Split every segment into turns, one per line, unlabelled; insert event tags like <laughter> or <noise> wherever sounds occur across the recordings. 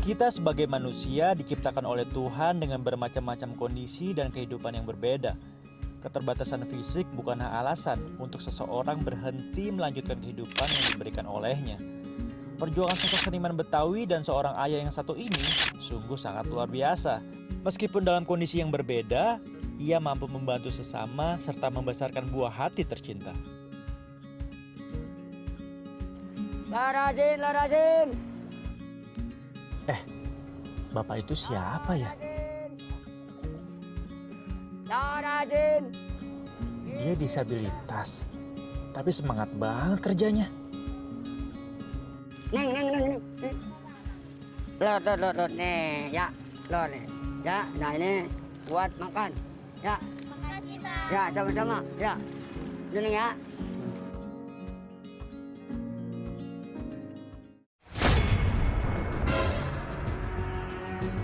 Kita sebagai manusia diciptakan oleh Tuhan dengan bermacam-macam kondisi dan kehidupan yang berbeda. Keterbatasan fisik bukanlah alasan untuk seseorang berhenti melanjutkan kehidupan yang diberikan olehnya. Perjuangan sosok seniman Betawi dan seorang ayah yang satu ini sungguh sangat luar biasa. Meskipun dalam kondisi yang berbeda, ia mampu membantu sesama serta membesarkan buah hati tercinta.
Larajin, larajin.
Bapak itu siapa ya?
Larajin.
Dia disabilitas, tapi semangat banget kerjanya.
Neng, neng, neng, neng. Lor, lor, lor, lor. Nih, ya. Lor, nih. Ya, nah ini buat makan. Ya. Makasih, Pak. Ya, sama-sama. Ya. Ini ya.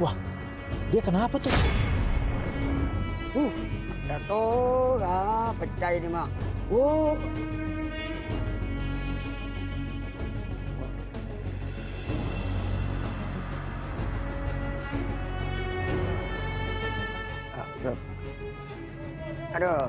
Wah, dia kenapa tuh?
Uh, satu. Ah, pecah ini, Mak. Uh. Aduh. Aduh.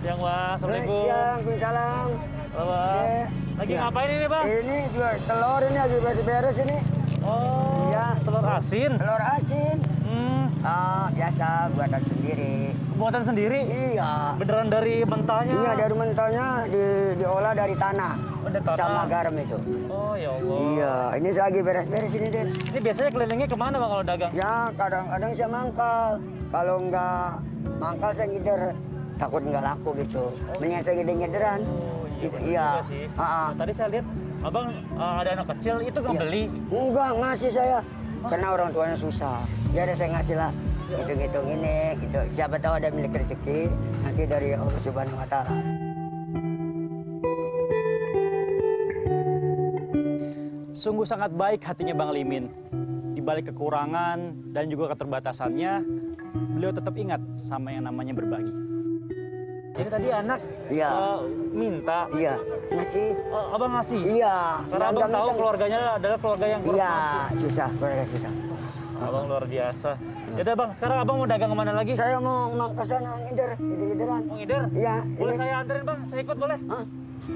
Siang, Wah.
Siang, Waalaikumsalam. Eh,
Lagi
iya.
ngapain ini, Bang?
Ini juga telur ini lagi beres-beres ini.
Oh,
Iya.
telur asin.
Telur asin.
Hmm,
Ah, biasa buatan sendiri.
buatan sendiri.
Iya.
Beneran dari mentahnya.
Iya, dari mentolnya di- diolah dari tanah.
Oh, dari tanah.
Sama garam itu.
Oh, ya Allah.
Iya, ini saya lagi beres-beres ini, Din.
Ini biasanya kelilingnya kemana, Bang, kalau dagang?
Ya, kadang-kadang saya mangkal. Kalau nggak mangkal saya ngider. Takut nggak laku gitu. Mendingan saya ngider-ngideran.
Oh, iya. bener
Iya.
juga sih.
Ah, ah.
Tadi saya lihat Abang eh, ada anak kecil itu nggak
Iya.
beli.
Enggak, ngasih saya. Karena orang tuanya susah. Jadi saya ngasih lah hitung-hitung ini, gitu. Siapa tahu ada milik rezeki nanti dari Allah Subhanahu wa taala.
Sungguh sangat baik hatinya Bang Limin. Di balik kekurangan dan juga keterbatasannya, beliau tetap ingat sama yang namanya berbagi. Jadi tadi anak
Iya.
eh, minta,
Iya, ngasih.
eh, abang ngasih.
Iya.
Karena abang
Nggak
tahu
minta.
keluarganya adalah keluarga yang kurang
Iya,
mampu.
susah, keluarga susah.
Abang luar biasa. Yaudah bang, sekarang abang mau dagang kemana lagi?
Iya. Saya mau mau ke sana ngider, ngider-ngideran.
Mau ngider?
Iya,
Boleh
ini.
saya anterin bang? Saya ikut boleh?
Hah?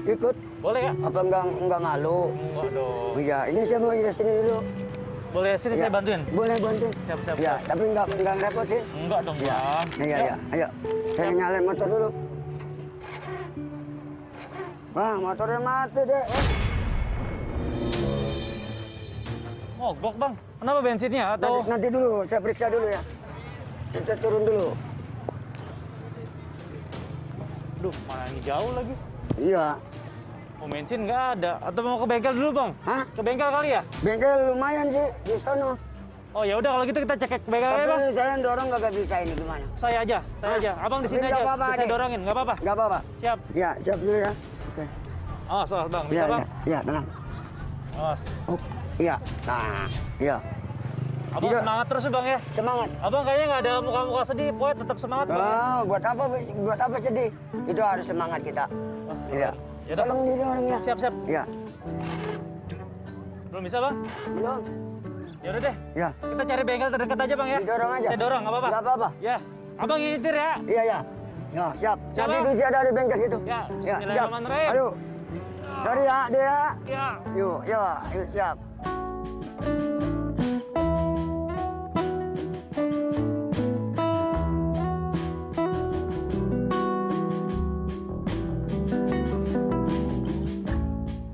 Ikut
Boleh ya?
apa enggak enggak malu?
Enggak dong.
Iya, ini saya mau ngider sini dulu.
Boleh sini
Iya.
saya bantuin?
Boleh bantu.
Siap, siap,
Iya,
siap.
tapi enggak enggak repotin.
Enggak dong bang.
Iya,
Yuk.
iya, ayo. Saya nyalain motor dulu. Wah, motornya mati deh.
Mogok bang. Kenapa bensinnya atau?
Nanti, nanti dulu, saya periksa dulu ya. Kita turun dulu.
Duh, malah ini jauh lagi.
Iya.
Mau bensin nggak ada. Atau mau ke bengkel dulu bang?
Hah?
Ke bengkel kali ya?
Bengkel lumayan sih di sana.
Oh ya udah kalau gitu kita cek ke bengkel ya bang.
Tapi saya dorong kagak bisa ini gimana?
Saya aja, saya
Hah?
aja. Abang di sini
Tapi nggak
aja.
apa-apa,
saya
Ade.
dorongin, nggak apa-apa.
Gak apa-apa.
Siap.
Ya, siap dulu ya. Oke.
Awas, awas bang.
Iya,
Bisa bang?
iya, iya, tenang.
Awas.
Oh, iya. Nah, iya.
Abang
Iya.
semangat terus ya, bang ya.
Semangat.
Abang kayaknya nggak ada muka-muka sedih, pokoknya tetap semangat bang. ya.
Ah, buat apa buat apa sedih? Itu harus semangat kita. Iya.
Yaudah.
Tolong diri orang ya.
Siap, siap.
Iya.
Belum bisa bang?
Belum.
Ya udah deh,
Ya.
kita cari bengkel terdekat aja bang ya.
Didorong aja.
Saya dorong, nggak apa-apa.
Nggak apa-apa.
Ya, abang yang nyetir ya.
Iya ya. Ya, siap.
Siap,
Siap
Bang.
itu sih ada di bengkel situ.
Ya,
siap.
bismillahirrahmanirrahim.
Ayo. Cari ya, dia.
Ya.
Yuk, ya, yuk siap.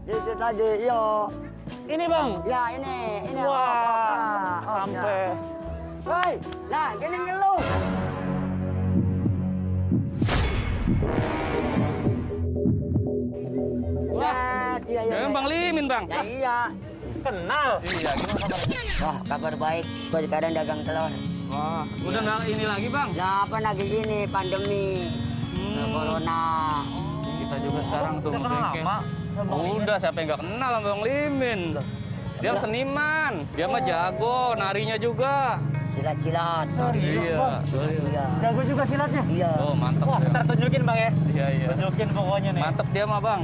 Dikit lagi, yuk.
Ini bang.
Ya, ini, ini.
Wah,
Oh, oh, oh, oh,
sampai.
ya. Woi, nah, gini ngeluh. Wah, iya, iya.
Ya,
iya.
Bang Limin, Bang.
Ya, iya.
Kenal.
Iya, gimana kabarnya?
Wah, kabar baik. Gue sekarang dagang telur.
Wah, udah nggak ini lagi, Bang.
Ya, apa lagi gini, pandemi. Nah,
Hmm.
Corona.
Nah, Kita juga sekarang tuh
Udah kenal
ngebengkel.
lama sama Bang Limin?
Udah, siapa yang nggak kenal sama Bang Limin? Dia seniman, dia mah jago, narinya juga.
Silat-silat.
Serius bang.
Iya.
Jago juga silatnya.
Iya.
Oh, mantep.
Wah,
dia.
ntar tunjukin bang ya.
Iya, iya.
Tunjukin pokoknya nih.
Mantep dia mah, Bang.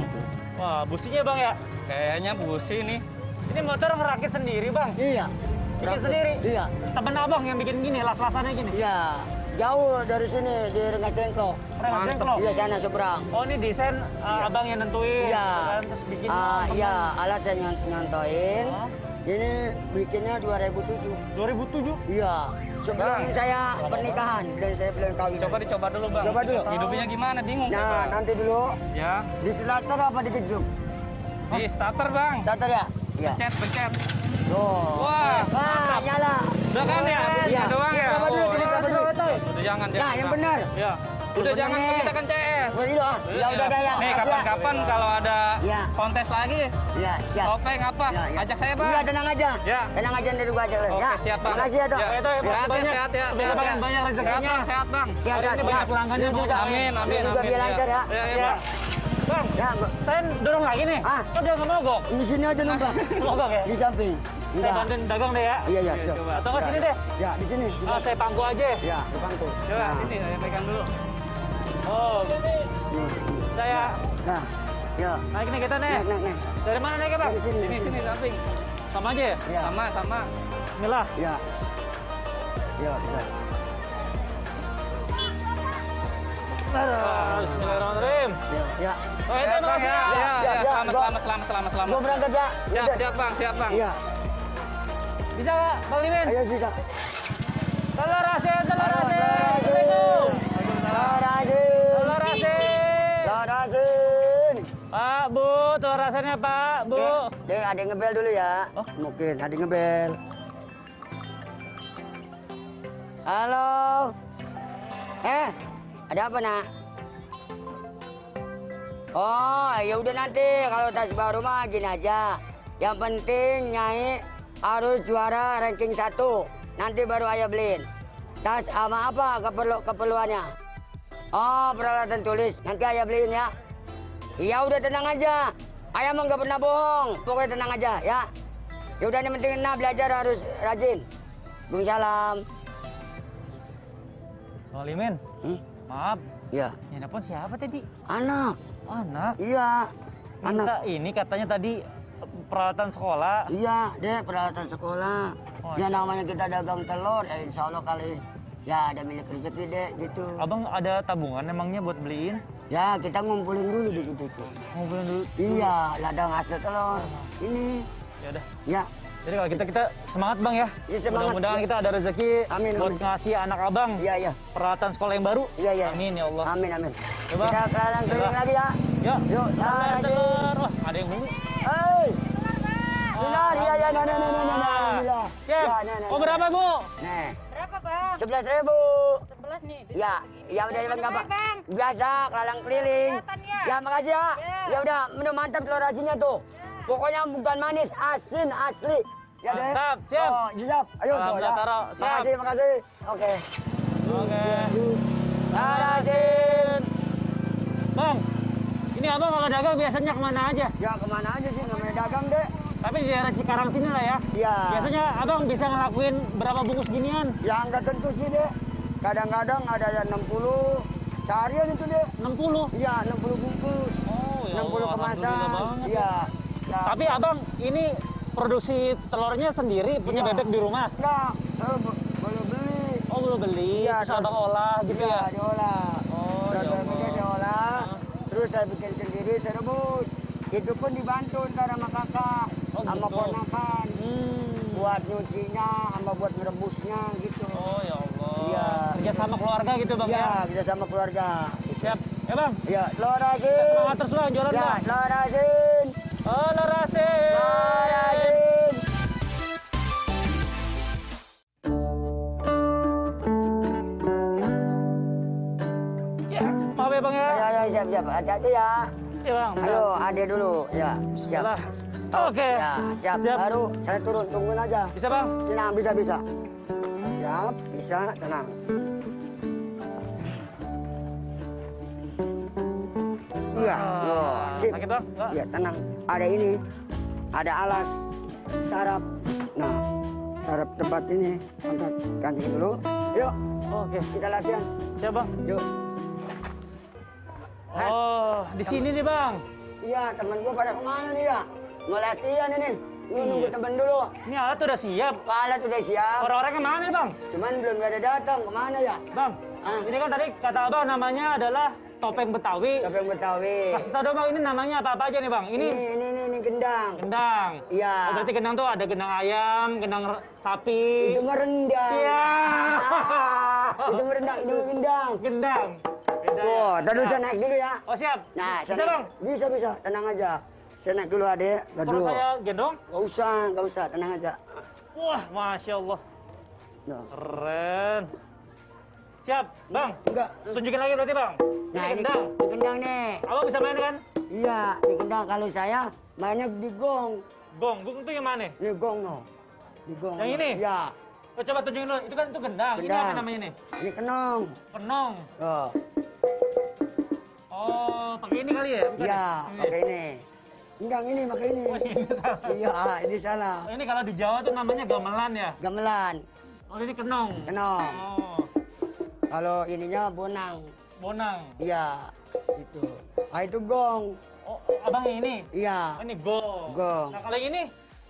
Wah, businya bang ya.
Kayaknya busi nih.
Ini Ini motor ngerakit sendiri, Bang.
Iya.
Bikin
Rapi.
sendiri?
Iya.
Temen Abang yang bikin gini, las-lasannya gini.
Iya. Jauh dari sini di Rengas Dengklok.
Rengas Dengklok?
Iya sana seberang.
Oh, ini desain uh, Abang yang nentuin.
Iya.
gitu kan, Terus bikin.
Ah, iya, alat saya nyont- nyontoin.
Hah?
Ini bikinnya 2007.
2007.
Iya. Sebelum
Bang.
saya pernikahan dan saya belum kawin.
Coba dicoba dulu bang.
Coba dulu.
Hidupnya gimana? Bingung
Nah,
saya, bang.
nanti dulu
Ya.
di selater apa di kejrum?
Di starter bang.
Selater ya? Iya.
Pencet, pencet.
Tuh.
Wah.
Wah, nyala.
Udah kan ya? Bisnya
Iya.
doang ya.
Berapa dulu?
Oh,
Kita berapa dulu?
Udah jangan
Nah,
jangan,
yang
Bang.
benar.
Ya. Udah
Yang
jangan
benar.
kita kan CS.
Oh, iya. Ya udah dah ya.
Nih kapan-kapan kalau ada
Iya.
kontes lagi,
Iya, siap.
topeng apa?
Ya, ya.
Ajak saya bang.
Iya, tenang aja.
Ya.
Tenang aja nanti gua ajak.
Oke siap bang.
Makasih ya, Tok.
Ya, Toh, ya,
Sehat ya,
banyak.
sehat ya.
Semoga
sehat ya.
Bang banyak
Sehat
rezekinya.
bang, sehat bang.
Sihat,
Hari ini
sihat,
banyak
sihat.
pelanggannya,
Lu
Bang.
juga.
Amin,
Lu
amin,
juga
amin.
biar lancar ya.
Iya, iya,
Siap.
bang.
Bang,
Ya, Mbak.
saya dorong lagi nih.
Ah.
Kok dia nggak mogok?
Di sini aja
<laughs>
numpang.
Mogok ya?
Di samping.
Saya
Iya.
bantuin dagang deh ya.
Iya, iya, siap.
coba.
Atau nggak sini deh.
Ya, di sini. di
Ah, saya pangku aja.
Ya, depan tuh.
Coba
Nah,
sini saya pegang dulu.
Oh,
nih.
saya
Nah, ya.
naik nih kita nih.
Naik, naik, naik.
Dari mana naiknya, Bang?
Di sini.
Eh. Sini sini samping.
Sama aja ya?
Ya.
Sama sama.
Bismillah.
Ya. Ya, sudah.
Ah, Bismillahirrahmanirrahim.
Ya, ya.
Oh, itu
Sehat, Bang,
makasih
ya.
ya.
Ya,
Ya,
ya,
ya,
selamat
gua-
selamat selamat selamat selamat.
Gua berangkat ya.
Siap,
Udah.
siap bang, siap bang.
Iya.
Bisa nggak, Bang Limin?
Ayo bisa.
Telur asin, telur asin.
Telur asin.
Assalamualaikum.
Telur
Telur asin.
asin.
Pak, Bu, telur asinnya, Pak, Bu.
Oke, Dek, ada yang ngebel dulu ya.
Oh.
Mungkin ada yang ngebel. Halo. Eh, ada apa nak? Oh, ya udah nanti kalau tas baru mah gini aja. Yang penting Nyai harus juara ranking satu. Nanti baru ayah beliin. Tas sama apa keperlu keperluannya? Oh, peralatan tulis. Nanti ayah beliin ya. Ya udah tenang aja. Ayah mah nggak pernah bohong. Pokoknya tenang aja ya. Ya udah yang penting nah belajar harus rajin. Bung salam.
Bang Limin,
Hmm?
maaf.
Ya.
Yang telepon siapa tadi?
Anak.
Anak.
Iya. Anak.
Minta ini katanya tadi eh, peralatan sekolah.
Iya, deh peralatan sekolah.
Oh,
ya namanya kita dagang telur, eh, insya Allah kali ya ada milik rezeki deh gitu.
Abang ada tabungan emangnya buat beliin?
Ya kita ngumpulin dulu di situ.
Ngobrolin dulu.
Iya, ladang hasil telur. Ini,
Ya udah.
ya.
Jadi kalau gitu kita kita semangat bang ya.
Iya, semangat.
Mudah-mudahan kita ada rezeki
Amin,
buat
amin.
ngasih anak abang
Iya, iya.
peralatan sekolah yang baru.
Iya, iya.
Amin ya Allah.
Amin, amin.
Coba.
Kita kalian keliling
Bismillah.
lagi ya.
Yuk.
Yuk,
Telur,
nah,
telur. Wah, ada yang bunyi.
Hei. Benar, iya, iya, nah, nah, nah, nah, nah, nah, alhamdulillah.
Siap.
Ya, nah, nah,
oh
nah.
berapa bu?
Nih,
Berapa bang?
sebelas ribu.
Sebelas nih.
Ya, ya udah
Dari
bang,
mana
apa?
naik, Bang?
Biasa, kelalang keliling.
Kelihatan, ya?
Ya, makasih ya.
Ya.
Ya udah, menu mantap telur asinnya tuh. Pokoknya bukan manis, asin asli. Ya deh.
Mantap, siap.
Oh, siap. Ayo tuh
Alhamdulillah,
ya.
taruh. Siap.
Makasih, makasih. Oke.
Oke.
Telur asin.
Bang, ini abang kalau dagang biasanya kemana aja?
Ya kemana aja sih namanya dagang deh.
Tapi di daerah Cikarang sini lah ya.
Iya.
Biasanya abang bisa ngelakuin berapa bungkus ginian?
Ya nggak tentu sih deh. Kadang-kadang ada yang 60 seharian itu deh.
60.
Iya, 60 bungkus.
Oh
60 kemasan.
Alhamdulillah banget.
Iya. Nah,
Tapi abang ini produksi telurnya sendiri punya
Iya.
bebek di rumah?
Enggak, eh, be- baru beli.
Oh lu beli, terus
Iya, terus-
abang olah gitu
Iya,
ya?
diolah.
Oh, ya
Terus saya bikin,
Allah.
saya olah.
Hah?
Terus saya bikin sendiri, saya rebus. Itu pun dibantu ntar sama kakak,
Oh,
sama
gitu.
ponakan.
Hmm.
Buat nyucinya, sama buat merebusnya gitu.
Oh ya Allah.
Iya.
Kerja sama keluarga gitu bang ya?
Iya, bisa sama keluarga.
Siap. Ya bang,
Ya, lorasin.
kita semangat terus bang, jualan
Ya,
bang.
lorasin.
Oh lorasi.
Lorasin.
Ya, maaf ya bang ya.
Ayo, ayo, siap, siap. Hati-hati ya.
Ya bang.
Ayo, ade dulu. Ya, siap.
Bismillah. Oke.
Ya, siap.
Siap.
Baru saya turun, tungguin aja.
Bisa bang?
Tenang, bisa, bisa. Siap, bisa, tenang. Iya, loh. Sip.
Sakit bang? Nggak?
Iya, tenang. Ada ini, ada alas, sarap. Nah, sarap tempat ini. Angkat kancing dulu. Yuk,
Oke,
kita latihan.
siap bang.
Yuk.
Oh, di sini nih bang.
Iya, teman gua pada kemana nih ya? Mau latihan ini. Ini nunggu temen dulu.
Ini alat udah siap.
Alat udah siap.
Orang-orangnya mana nih bang?
Cuman belum ada datang. Kemana ya?
Bang,
Ah.
ini kan tadi kata abang namanya adalah topeng Betawi.
Tapi yang Betawi.
Kasih tau dong bang, ini namanya apa-apa aja nih bang? Ini
Ini ini ini, ini gendang.
gendang.
Iya.
Oh, berarti gendang tuh ada gendang ayam, gendang re- sapi.
Itu merendang.
Iya.
<laughs> Itu merendang, itu gendang.
gendang. Gendang ya.
Wah, tadi
Nah.
saya naik dulu ya.
Iya, Oh siap.
Nah,
Bisa
saya naik.
bang?
Bisa, bisa. Tenang aja. Saya naik dulu, adek.
Terus saya gendong.
Gak usah, gak usah. Tenang aja.
Wah, masya Allah,
Tuh.
keren. Siap, bang.
Enggak.
Tunjukin lagi berarti bang. Ini
Nah, ini
gendang.
ini gendang nih.
Abang bisa main kan?
Iya, ini gendang. Kalau saya mainnya di gong.
Gong, gong itu yang mana?
Ini gong, no. Di gong.
Yang ini?
Iya.
Oh, coba tunjukin dulu. Itu kan itu gendang. Ini
Gendang.
apa namanya nih?
Ini kenong.
Penong.
Tuh.
Oh, pakai ini kali ya? Bukan
Iya,
Ini.
pakai ini. Gendang ini, pakai ini.
Oh, ini salah.
Iya, ini salah.
Oh, ini kalau di Jawa tuh namanya gamelan ya.
Gamelan.
Oh, ini kenong.
Kenong.
Oh,
Kalau ininya bonang.
bonang.
Iya, itu. Ah itu gong.
Oh, oh, abang yang ini.
Iya.
Oh, ini gong.
Gong.
Nah, kalau yang ini?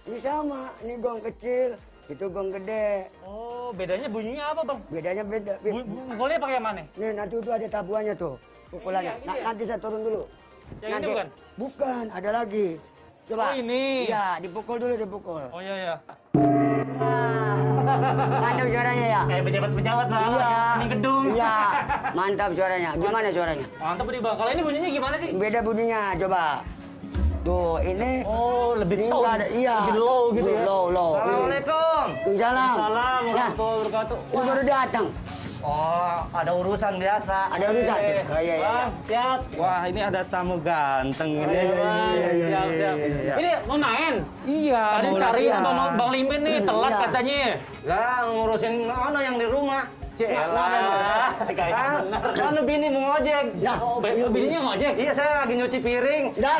Ini sama, ini gong kecil, itu gong gede.
Oh, bedanya bunyinya apa, Bang?
Bedanya beda.
Bu, bu- pukulnya pakai yang mana?
Nih, nanti itu ada tabuannya tuh,
Ini
pukulannya.
ya, ini
Na-
ya?
nanti saya turun dulu.
Yang ini
Nanti-
bukan?
Bukan, ada lagi. Coba.
Oh, ini.
Iya, dipukul dulu, dipukul.
Oh, iya, iya.
Nah, mantap suaranya ya.
Kayak pejabat-pejabat lah.
Iya.
Ini gedung.
Iya, mantap suaranya. Gimana suaranya?
Mantap nih, Bang. Kalau ini bunyinya gimana sih?
Beda bunyinya, coba. Tuh, ini.
Oh, lebih
ini
tone.
nggak ada, iya.
Lebih low gitu ya.
Low, low.
Assalamualaikum.
Waalaikumsalam.
Salam,
Nah,
warahmatullahi wabarakatuh.
lu baru datang.
Oh, ada urusan biasa.
Ada urusan.
Eh,
Oh, iya, iya.
Bang, siap.
Wah, ini ada tamu ganteng ini.
Iya, Bang. siap, siap.
Iya.
Ini mau main?
Iya,
Tadi
mau
cari
latihan.
sama Bang- Bang Limin nih, telat
Iya.
katanya.
Lah, ngurusin ono yang di rumah.
Elah, kan. kayak
Ah,
bener.
Kan bini mau ngojek.
Dah,
Oh, be- bininya ngojek?
Iya, saya lagi nyuci piring.
dah.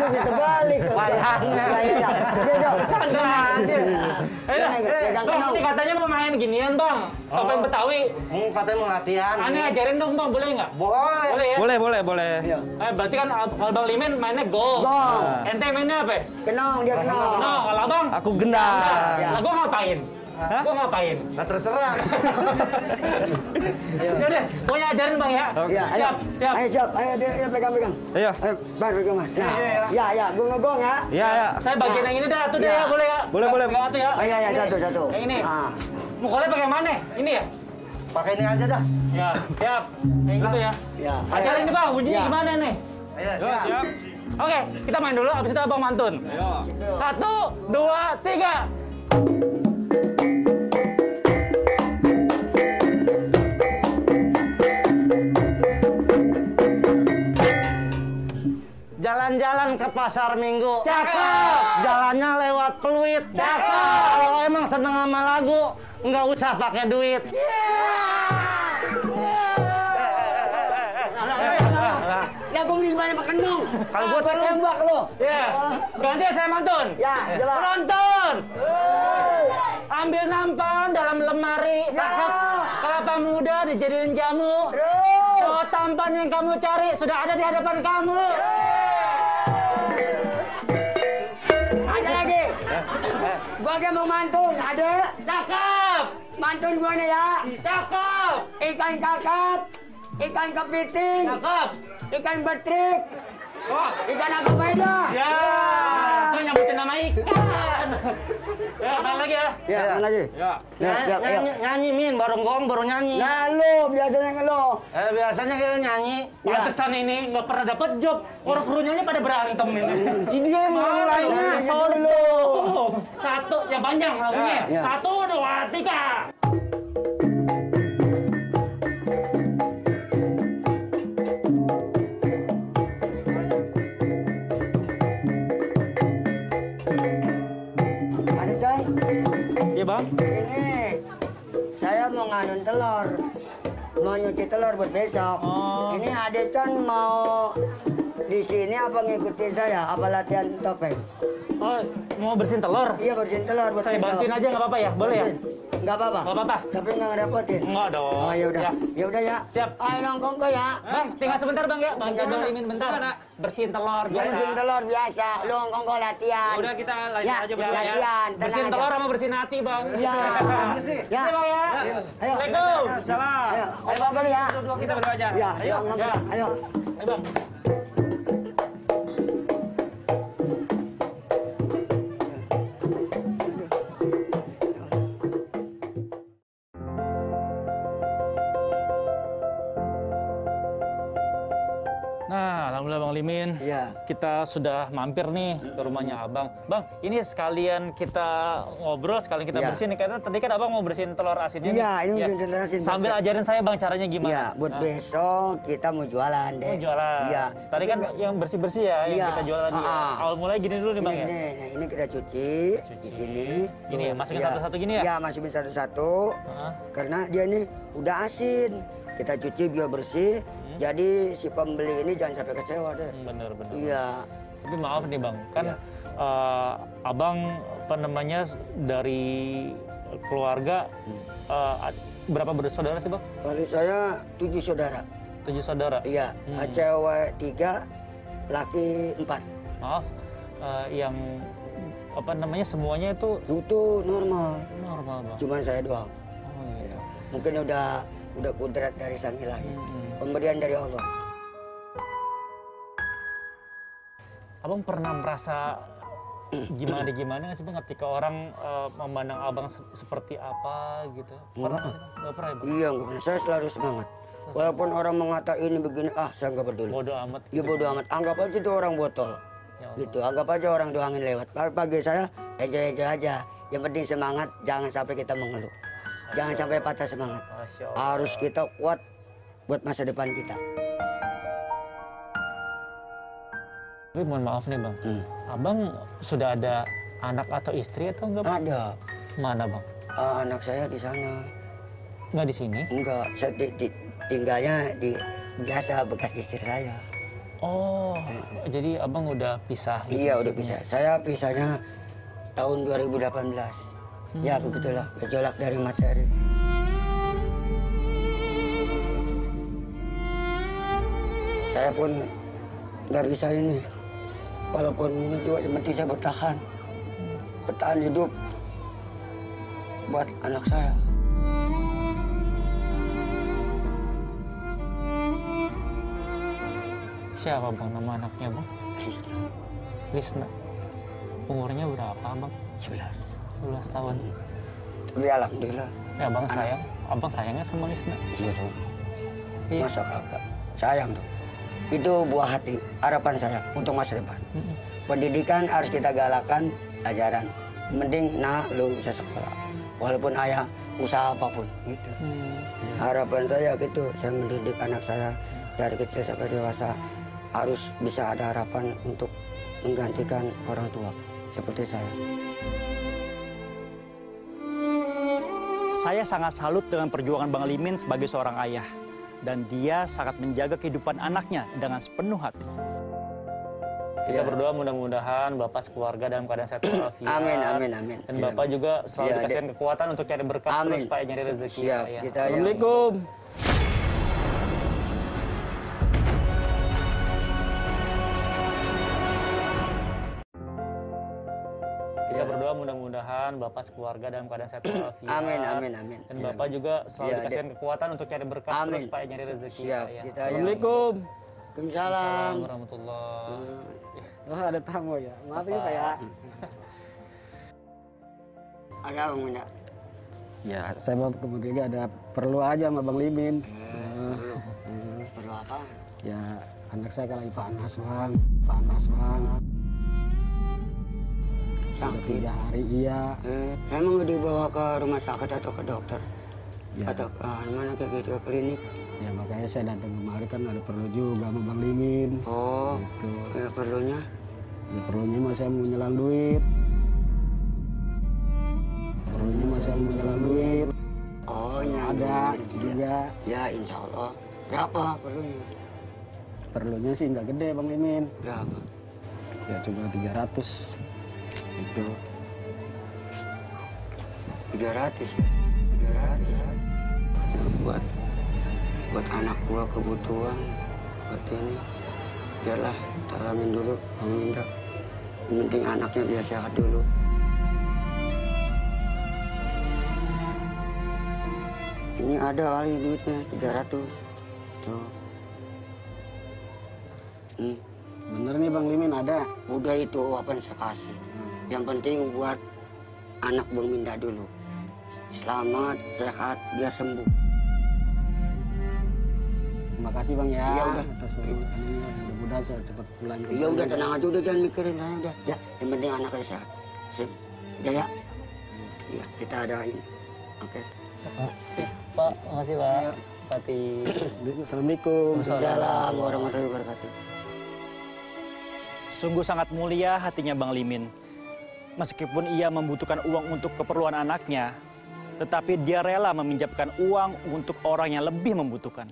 Lu kita balik.
Wayangnya.
Iya, iya, iya. Iya, iya.
Canda aja. Eh, dah.
Jangan- jangan
Bang,
kenal.
ini kan- katanya mau main ginian, Bang. Topeng
Oh.
Betawi.
Iya.
Mau katanya mau latihan.
Aneh ajarin dong, Bang, boleh nggak?
Boleh.
Boleh ya?
Boleh, boleh, boleh.
Iya.
Eh, berarti kan kalau Bang Limin mainnya gol.
Gong.
Ente mainnya apa ya?
Kenong, dia kenong.
No, kalau Abang?
Aku gendang.
Lah, gua ngapain?
Hah?
Gua ngapain?
Nah, terserah.
<laughs> Ya udah, gua ajarin Bang ya.
Oke.
Iya, ayo.
Siap, siap. Iya.
Ayo, siap. Ayo, dia, dia pegang, pegang.
Ayo.
Ayo, bar, pegang, bar. Nah,
Iya, iya.
ya, ya. Gue ngegong ya.
Iya, ya.
Saya bagian yang ini dah, tuh deh
Iya.
ya, boleh ya?
Boleh, boleh.
Pegang atuh ya.
Ayo, ayo, Oh, iya, satu, satu.
Yang ini.
Ah.
Mukulnya pakai mana? Ini ya?
Pakai ini aja dah.
Ya, siap. Kayak gitu ya.
Ya.
Ajarin nih Bang, bunyinya
Iya.
gimana nih?
Ayo, siap.
Oke, kita main dulu, abis itu abang mantun. Satu, dua, tiga.
Jalan-jalan ke pasar minggu.
Cakep.
Jalannya lewat peluit.
Cakep.
Kalau emang seneng sama lagu, nggak usah pakai duit.
Ya, gue gimana makan dong.
Kalau gua
Gua
tuh-
tembak lo.
Ya, ganti ya saya mantun.
Ya, coba.
Penonton, ambil nampan dalam lemari.
Ya,
Cakep.
Kelapa muda dijadiin jamu.
Terus.
Cowok tampan yang kamu cari sudah ada di hadapan kamu.
Ada lagi. Gua lagi mau mantun. Ada.
Cakep,
Mantun gua nih ya.
cakep,
Ikan kakap. Ikan kepiting.
cakep.
Ikan betrik. Ikan apa beda?
Ya, kau nyebutin nama ikan. Ya, main lagi ya.
Ya, mana lagi? Ya,
Iya, Nah,
Nyanyi,
siap,
nyanyi, nyanyi, Min. Baru ngong, baru nyanyi.
Nah, lo biasanya ngelo.
Eh, biasanya kita nyanyi.
Pantesan ini nggak pernah dapat job. Orang kerunyanya pada berantem ini.
Dia yang
Nah,
mulainya.
Mulainya solo. Satu yang panjang lagunya.
Ya, ya.
Satu dua tiga.
Ada Cang.
Iya bang.
Ini saya mau ngadon
Oh.
telur. Mau nyuci telur buat besok. Ini Ade Chan mau di sini apa ngikutin saya? Apa latihan topeng?
Oh, mau bersihin telur?
Iya bersihin telur. buat
Saya
pisau.
bantuin aja nggak apa-apa ya? Boleh
Oh,
ya?
Bantuin. Nggak apa-apa.
Nggak apa-apa.
Tapi nggak ngerepotin.
Enggak dong.
iya. Oh ya udah.
Ya.
Ya udah ya.
Siap.
Ayo nongkrong kok ya.
Bang, tinggal sebentar bang ya. Bang
Gimana?
Jadolimin bentar. Bersihin telur
Gua
biasa.
bersihin telur biasa. Lu nongkrong kok latihan.
Udah kita lanjut
Ya,
aja
ya,
berdua ya.
latihan. Tenang
Bersihin
aja.
telur sama Iya, bersihin hati bang. <laughs>
Ya. Ya.
Ya. bang ya.
Ayo.
Assalamualaikum.
Salah.
Ayo. Ayo nongkrong ya.
Dua-dua kita berdua aja.
Ya.
Ayo.
nongkrong.
Ya.
Ayo.
Ayo bang. Nah, alhamdulillah Bang Limin.
Iya.
Kita sudah mampir nih ke rumahnya Abang. Bang, ini sekalian kita ngobrol, sekalian kita
Iya.
bersihin. nih. Karena tadi kan Abang mau bersihin telur asinnya.
Iya,
nih.
ini
Iya.
bersihin telur asin.
Sambil ajarin saya Bang caranya gimana.
Iya, buat
Nah,
besok kita mau jualan deh.
mau jualan.
Iya.
Tadi kan yang bersih-bersih ya yang
Iya.
kita jual tadi. ya.
Ah, ah.
Awal mulai gini dulu nih
Ini,
Bang ya.
ini, nah, ini kita cuci, di sini.
Gini ya,
Tuh,
masukin
iya.
satu-satu gini ya?
Iya, masukin satu-satu.
Heeh.
Karena dia ini udah asin. Kita cuci biar bersih. Jadi si pembeli ini jangan sampai kecewa deh.
Hmm, Bener, bener.
Iya.
Tapi maaf nih Bang, kan
Iya.
eh, Abang apa namanya dari keluarga
Hmm.
eh, berapa bersaudara sih Bang?
Kalau saya tujuh saudara.
Tujuh saudara.
Iya,
Hmm.
cewek tiga, laki empat.
maaf eh, yang apa namanya semuanya itu
Itu normal.
normal bang
Cuman saya doang.
oh, gitu.
Mungkin udah udah kudrat dari sang ilahi.
Hmm.
Pemberian dari Allah.
abang pernah merasa gimana gimana sih bang ketika orang eh, memandang abang se- seperti apa gitu pernah
Nggak.
sih, Bang? nggak pernah ya bang
Iya, nggak pernah. Saya selalu semangat. Walaupun orang mengata ini begini, ah saya nggak peduli.
bodoh amat
Ya bodo amat. Anggap aja itu orang botol.
Ya Allah.
Gitu, anggap aja orang doangin lewat. Pagi, pagi saya enjoy-enjoy aja. Yang penting semangat, jangan sampai kita mengeluh. Jangan sampai patah semangat.
Masya Allah.
Harus kita kuat buat masa depan kita.
tapi mohon maaf nih bang
Hmm.
abang sudah ada anak atau istri atau enggak bang?
Ada
mana bang
Ah, anak saya di sana.
nggak di sini
Enggak, saya di- di- tinggalnya di biasa bekas istri saya.
oh jadi abang udah pisah gitu
Iya, udah
maksudnya.
pisah. Saya pisahnya tahun 2018. Ya, begitulah. Gejolak dari materi. Saya pun nggak bisa ini. Walaupun ini juga yang penting saya bertahan. Bertahan hidup buat anak saya.
siapa bang nama anaknya bang Lisna umurnya berapa bang
11.
11 tahun
Tapi alhamdulillah.
ya abang sayang abang sayangnya sama Lisna
Iya dong.
Iya.
Masa kagak? Sayang dong. Itu buah hati, harapan saya untuk masa depan. Pendidikan harus kita galakan, ajaran. Mending nah lu bisa sekolah. Walaupun ayah usaha apapun. Gitu.
Iya.
Harapan saya gitu, saya mendidik anak saya dari kecil sampai dewasa harus bisa ada harapan untuk menggantikan orang tua seperti saya.
Iya.
Saya sangat salut dengan perjuangan Bang Limin sebagai seorang ayah. Dan dia sangat menjaga kehidupan anaknya dengan sepenuh hati.
kita berdoa mudah-mudahan bapak sekeluarga dalam keadaan sehat walafiat
Amin, amin, amin.
dan
Iya,
bapak
amin.
juga selalu
Iya, Dek.
dikasihkan kekuatan untuk cari berkah terus pak nyari rezeki
Siap,
Pak, ya.
kita yang-
Assalamualaikum.
kita
Iya.
berdoa mudah-mudahan bapak sekeluarga dalam keadaan sehat walafiat
Amin, amin, amin.
dan
Iya,
bapak
Dek.
juga selalu
Iya,
dikasihkan kekuatan untuk cari berkah terus
Amin.
pak nyari rezeki
Siap,
Pak, ya.
kita yang-
Assalamualaikum.
Waalaikumsalam.
Assalamualaikum warahmatullahi
Wah ada tamu ya. Maaf ini Pak ya.
<laughs> Ada apa Bunda?
Ya, saya mau kemudian ada perlu aja sama Bang Limin. Eh,
Perlu apa?
ya, anak saya kan lagi panas bang, panas bang. Sudah
Sakit.
tiga hari iya.
Eh, emang dibawa ke rumah sakit atau ke dokter?
Ya.
Atau ke ah, mana ke gitu ke klinik?
Ya makanya saya datang kemari kan ada perlu juga sama Bang Limin.
Oh,
Gitu.
ya perlunya.
Ya perlunya mah saya mau nyelang duit. Perlunya mah saya mau nyelang duit.
Oh, ya.
Ada juga.
Ya, insya Allah. Berapa perlunya?
perlunya sih nggak gede Bang Limin.
Berapa?
Ya cuma Gitu. 300 itu.
300 ya? 300 buat buat anak gua kebutuhan buat ini biarlah taramin dulu Bang Minda yang penting anaknya dia sehat dulu ini ada kali duitnya 300 tuh hmm.
Bener nih Bang Limin ada.
udah itu uapan saya kasih yang penting buat anak Bang Minda dulu selamat sehat biar sembuh
Makasih Bang ya.
Iya, udah.
Atas perluannya. Mudah-mudahan saya cepat pulang. ke
Iya
Bali.
udah tenang aja udah jangan mikirin saya udah ya yang penting anaknya sehat. Sip. Udah ya. Iya kita adain. Oke.
Pak, makasih Pak.
Iya.
Pati.
<clears throat>
Assalamualaikum.
Assalamualaikum warahmatullahi wabarakatuh.
Sungguh sangat mulia hatinya Bang Limin. Meskipun ia membutuhkan uang untuk keperluan anaknya, tetapi dia rela meminjamkan uang untuk orang yang lebih membutuhkan.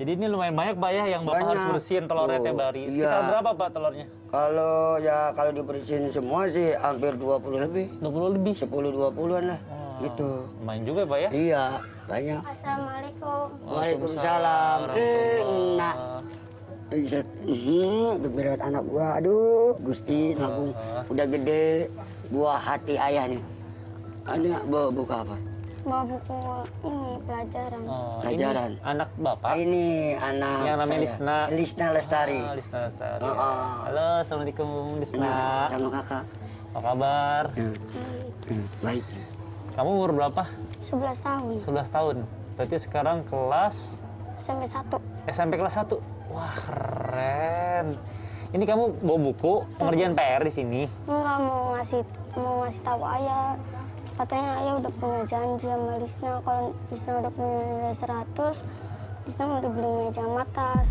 Jadi ini lumayan banyak Pak ya yang Bapak
Banyak.
harus bersihin telurnya
Tuh,
tiap hari.
iya.
Sekitar berapa Pak telurnya?
Kalau ya kalau diberisin semua sih hampir 20 lebih.
20 lebih.
10 20-an lah. Gitu.
Lumayan juga Pak ya.
Iya, banyak.
Assalamualaikum.
Waalaikumsalam. Hmm, Nah. Iset, hmm, berat anak gua, aduh, Gusti,
Ah,
nabung, udah gede, buah hati ayah nih. Ada bawa buka apa?
Mau buku ini pelajaran.
Oh,
Pelajaran.
Ini anak Bapak.
Ini anak
Yang namanya
saya.
Ah. Lisna.
Lisna Iya, Lestari.
Ah, Lisna Lestari.
Oh, oh.
Halo, Assalamualaikum Lisna.
Sama kakak.
Apa kabar?
Iya. Hmm, Baik.
Kamu umur berapa?
11 tahun
11 tahun. Berarti sekarang kelas
sampai 1.
SMP kelas 1. Wah, keren. Ini kamu bawa buku, pengerjaan PR di sini.
Enggak mau ngasih mau ngasih tahu ayah. Katanya ayah udah punya janji sama Lisna kalau Lisna udah punya nilai 100, Lisna mau dibeli meja sama tas.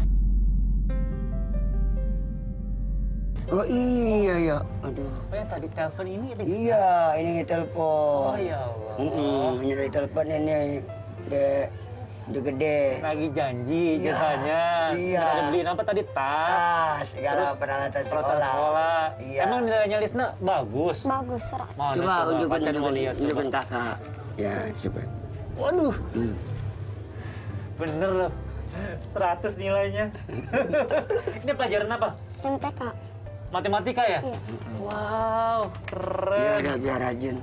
Oh iya ya. Aduh.
Apa Oh, yang tadi telepon ini?
Iya, ini telepon.
Oh ya Allah.
Mm-mm, ini dari telepon ini. De, de gede.
Lagi janji
Iya,
jatahnya.
iya.
Kita ada beliin apa tadi? Tas.
Ah, segala peralatan
peralatan
sekolah.
sekolah.
Iya.
Emang nilainya Lisna bagus.
Bagus, serat.
Mana
coba unjukin
Pacar mau
unjukin,
lihat iya, coba. Eh.
unjukin kakak. Ya, coba.
Waduh.
Hmm.
Bener loh. 100 nilainya.
<laughs>
Ini pelajaran apa?
MTK.
Matematika ya?
Iya.
Wow,
Ya
keren.
udah biar rajin.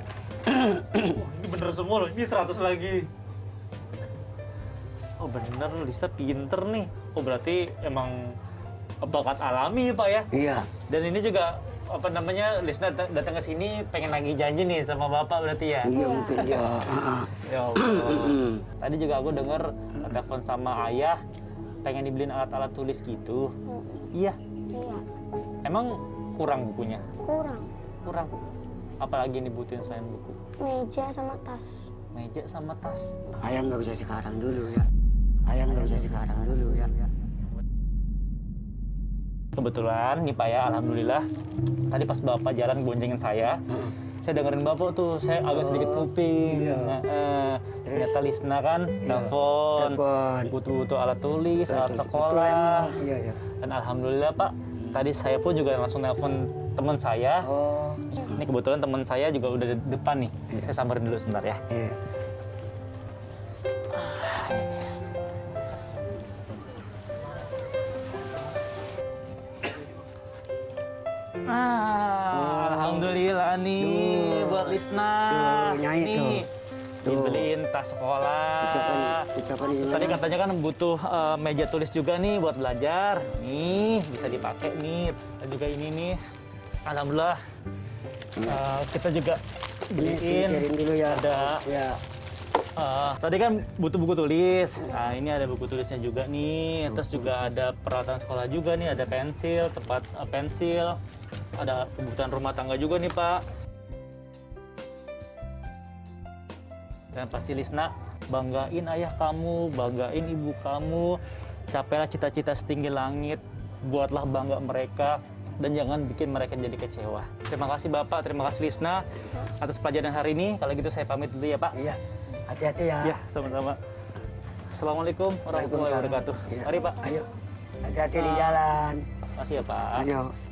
Ini bener semua loh. Ini 100 lagi. Oh bener loh, Lisa pinter nih. Oh berarti emang bakat alami Pak ya?
Iya.
Dan ini juga apa namanya Lisna dat- datang ke sini pengen lagi janji nih sama bapak berarti ya.
Iya mungkin ya. Ah, ah.
Ya Allah. Tadi juga aku denger telepon sama ayah pengen dibeliin alat-alat tulis gitu. Iya.
Iya,
Emang kurang bukunya?
kurang.
Kurang. Apalagi yang dibutuhin selain buku?
Meja sama tas.
Meja sama tas.
Ayah nggak bisa sekarang dulu ya. Ayah nggak bisa sekarang dulu ya.
Kebetulan nih Pak ya, alhamdulillah. Tadi pas Bapak jalan boncengin saya, saya dengerin Bapak tuh, saya agak sedikit
Oh,
kuping.
iya.
Nah, eh, ternyata Lisna kan, telepon,
Telepon.
butuh-butuh alat tulis, alat
Betul,
sekolah.
emang. Iya, iya.
Dan alhamdulillah Pak, tadi saya pun juga langsung nelpon teman saya.
Oh,
Ini kebetulan teman saya juga udah di depan nih. Saya samperin dulu sebentar ya.
iya.
Oh. Alhamdulillah nih buat Lisna.
Tuh, nyai
Nih,
tuh. Tuh.
Dibeliin tas sekolah.
Ucapan, ucapan
Terus
gimana?
tadi katanya kan butuh eh, meja tulis juga nih buat belajar. Nih, bisa dipakai nih. Dan juga ini nih. Alhamdulillah. eh, kita juga
Ini Hmm. Iya sih,
beliin
kirim dulu ya.
ada
Ya.
Eh, tadi kan butuh buku tulis. Nah, ini ada buku tulisnya juga nih. Terus juga ada peralatan sekolah juga nih, ada pensil, tempat eh, pensil. Ada kebutuhan rumah tangga juga nih, Pak. Dan pasti Lisna, banggain ayah kamu, banggain ibu kamu. Capailah cita-cita setinggi langit. Buatlah bangga mereka dan jangan bikin mereka jadi kecewa. Terima kasih Bapak, terima kasih Lisna atas pelajaran hari ini. Kalau gitu saya pamit dulu ya, Pak.
Iya. Hati-hati ya.
Ya, sama-sama. Assalamualaikum
Iya.
warahmatullahi wabarakatuh.
Waalaikumsalam.
Mari Pak.
Hati-hati di jalan.
Makasih ya Pak.
Ayo.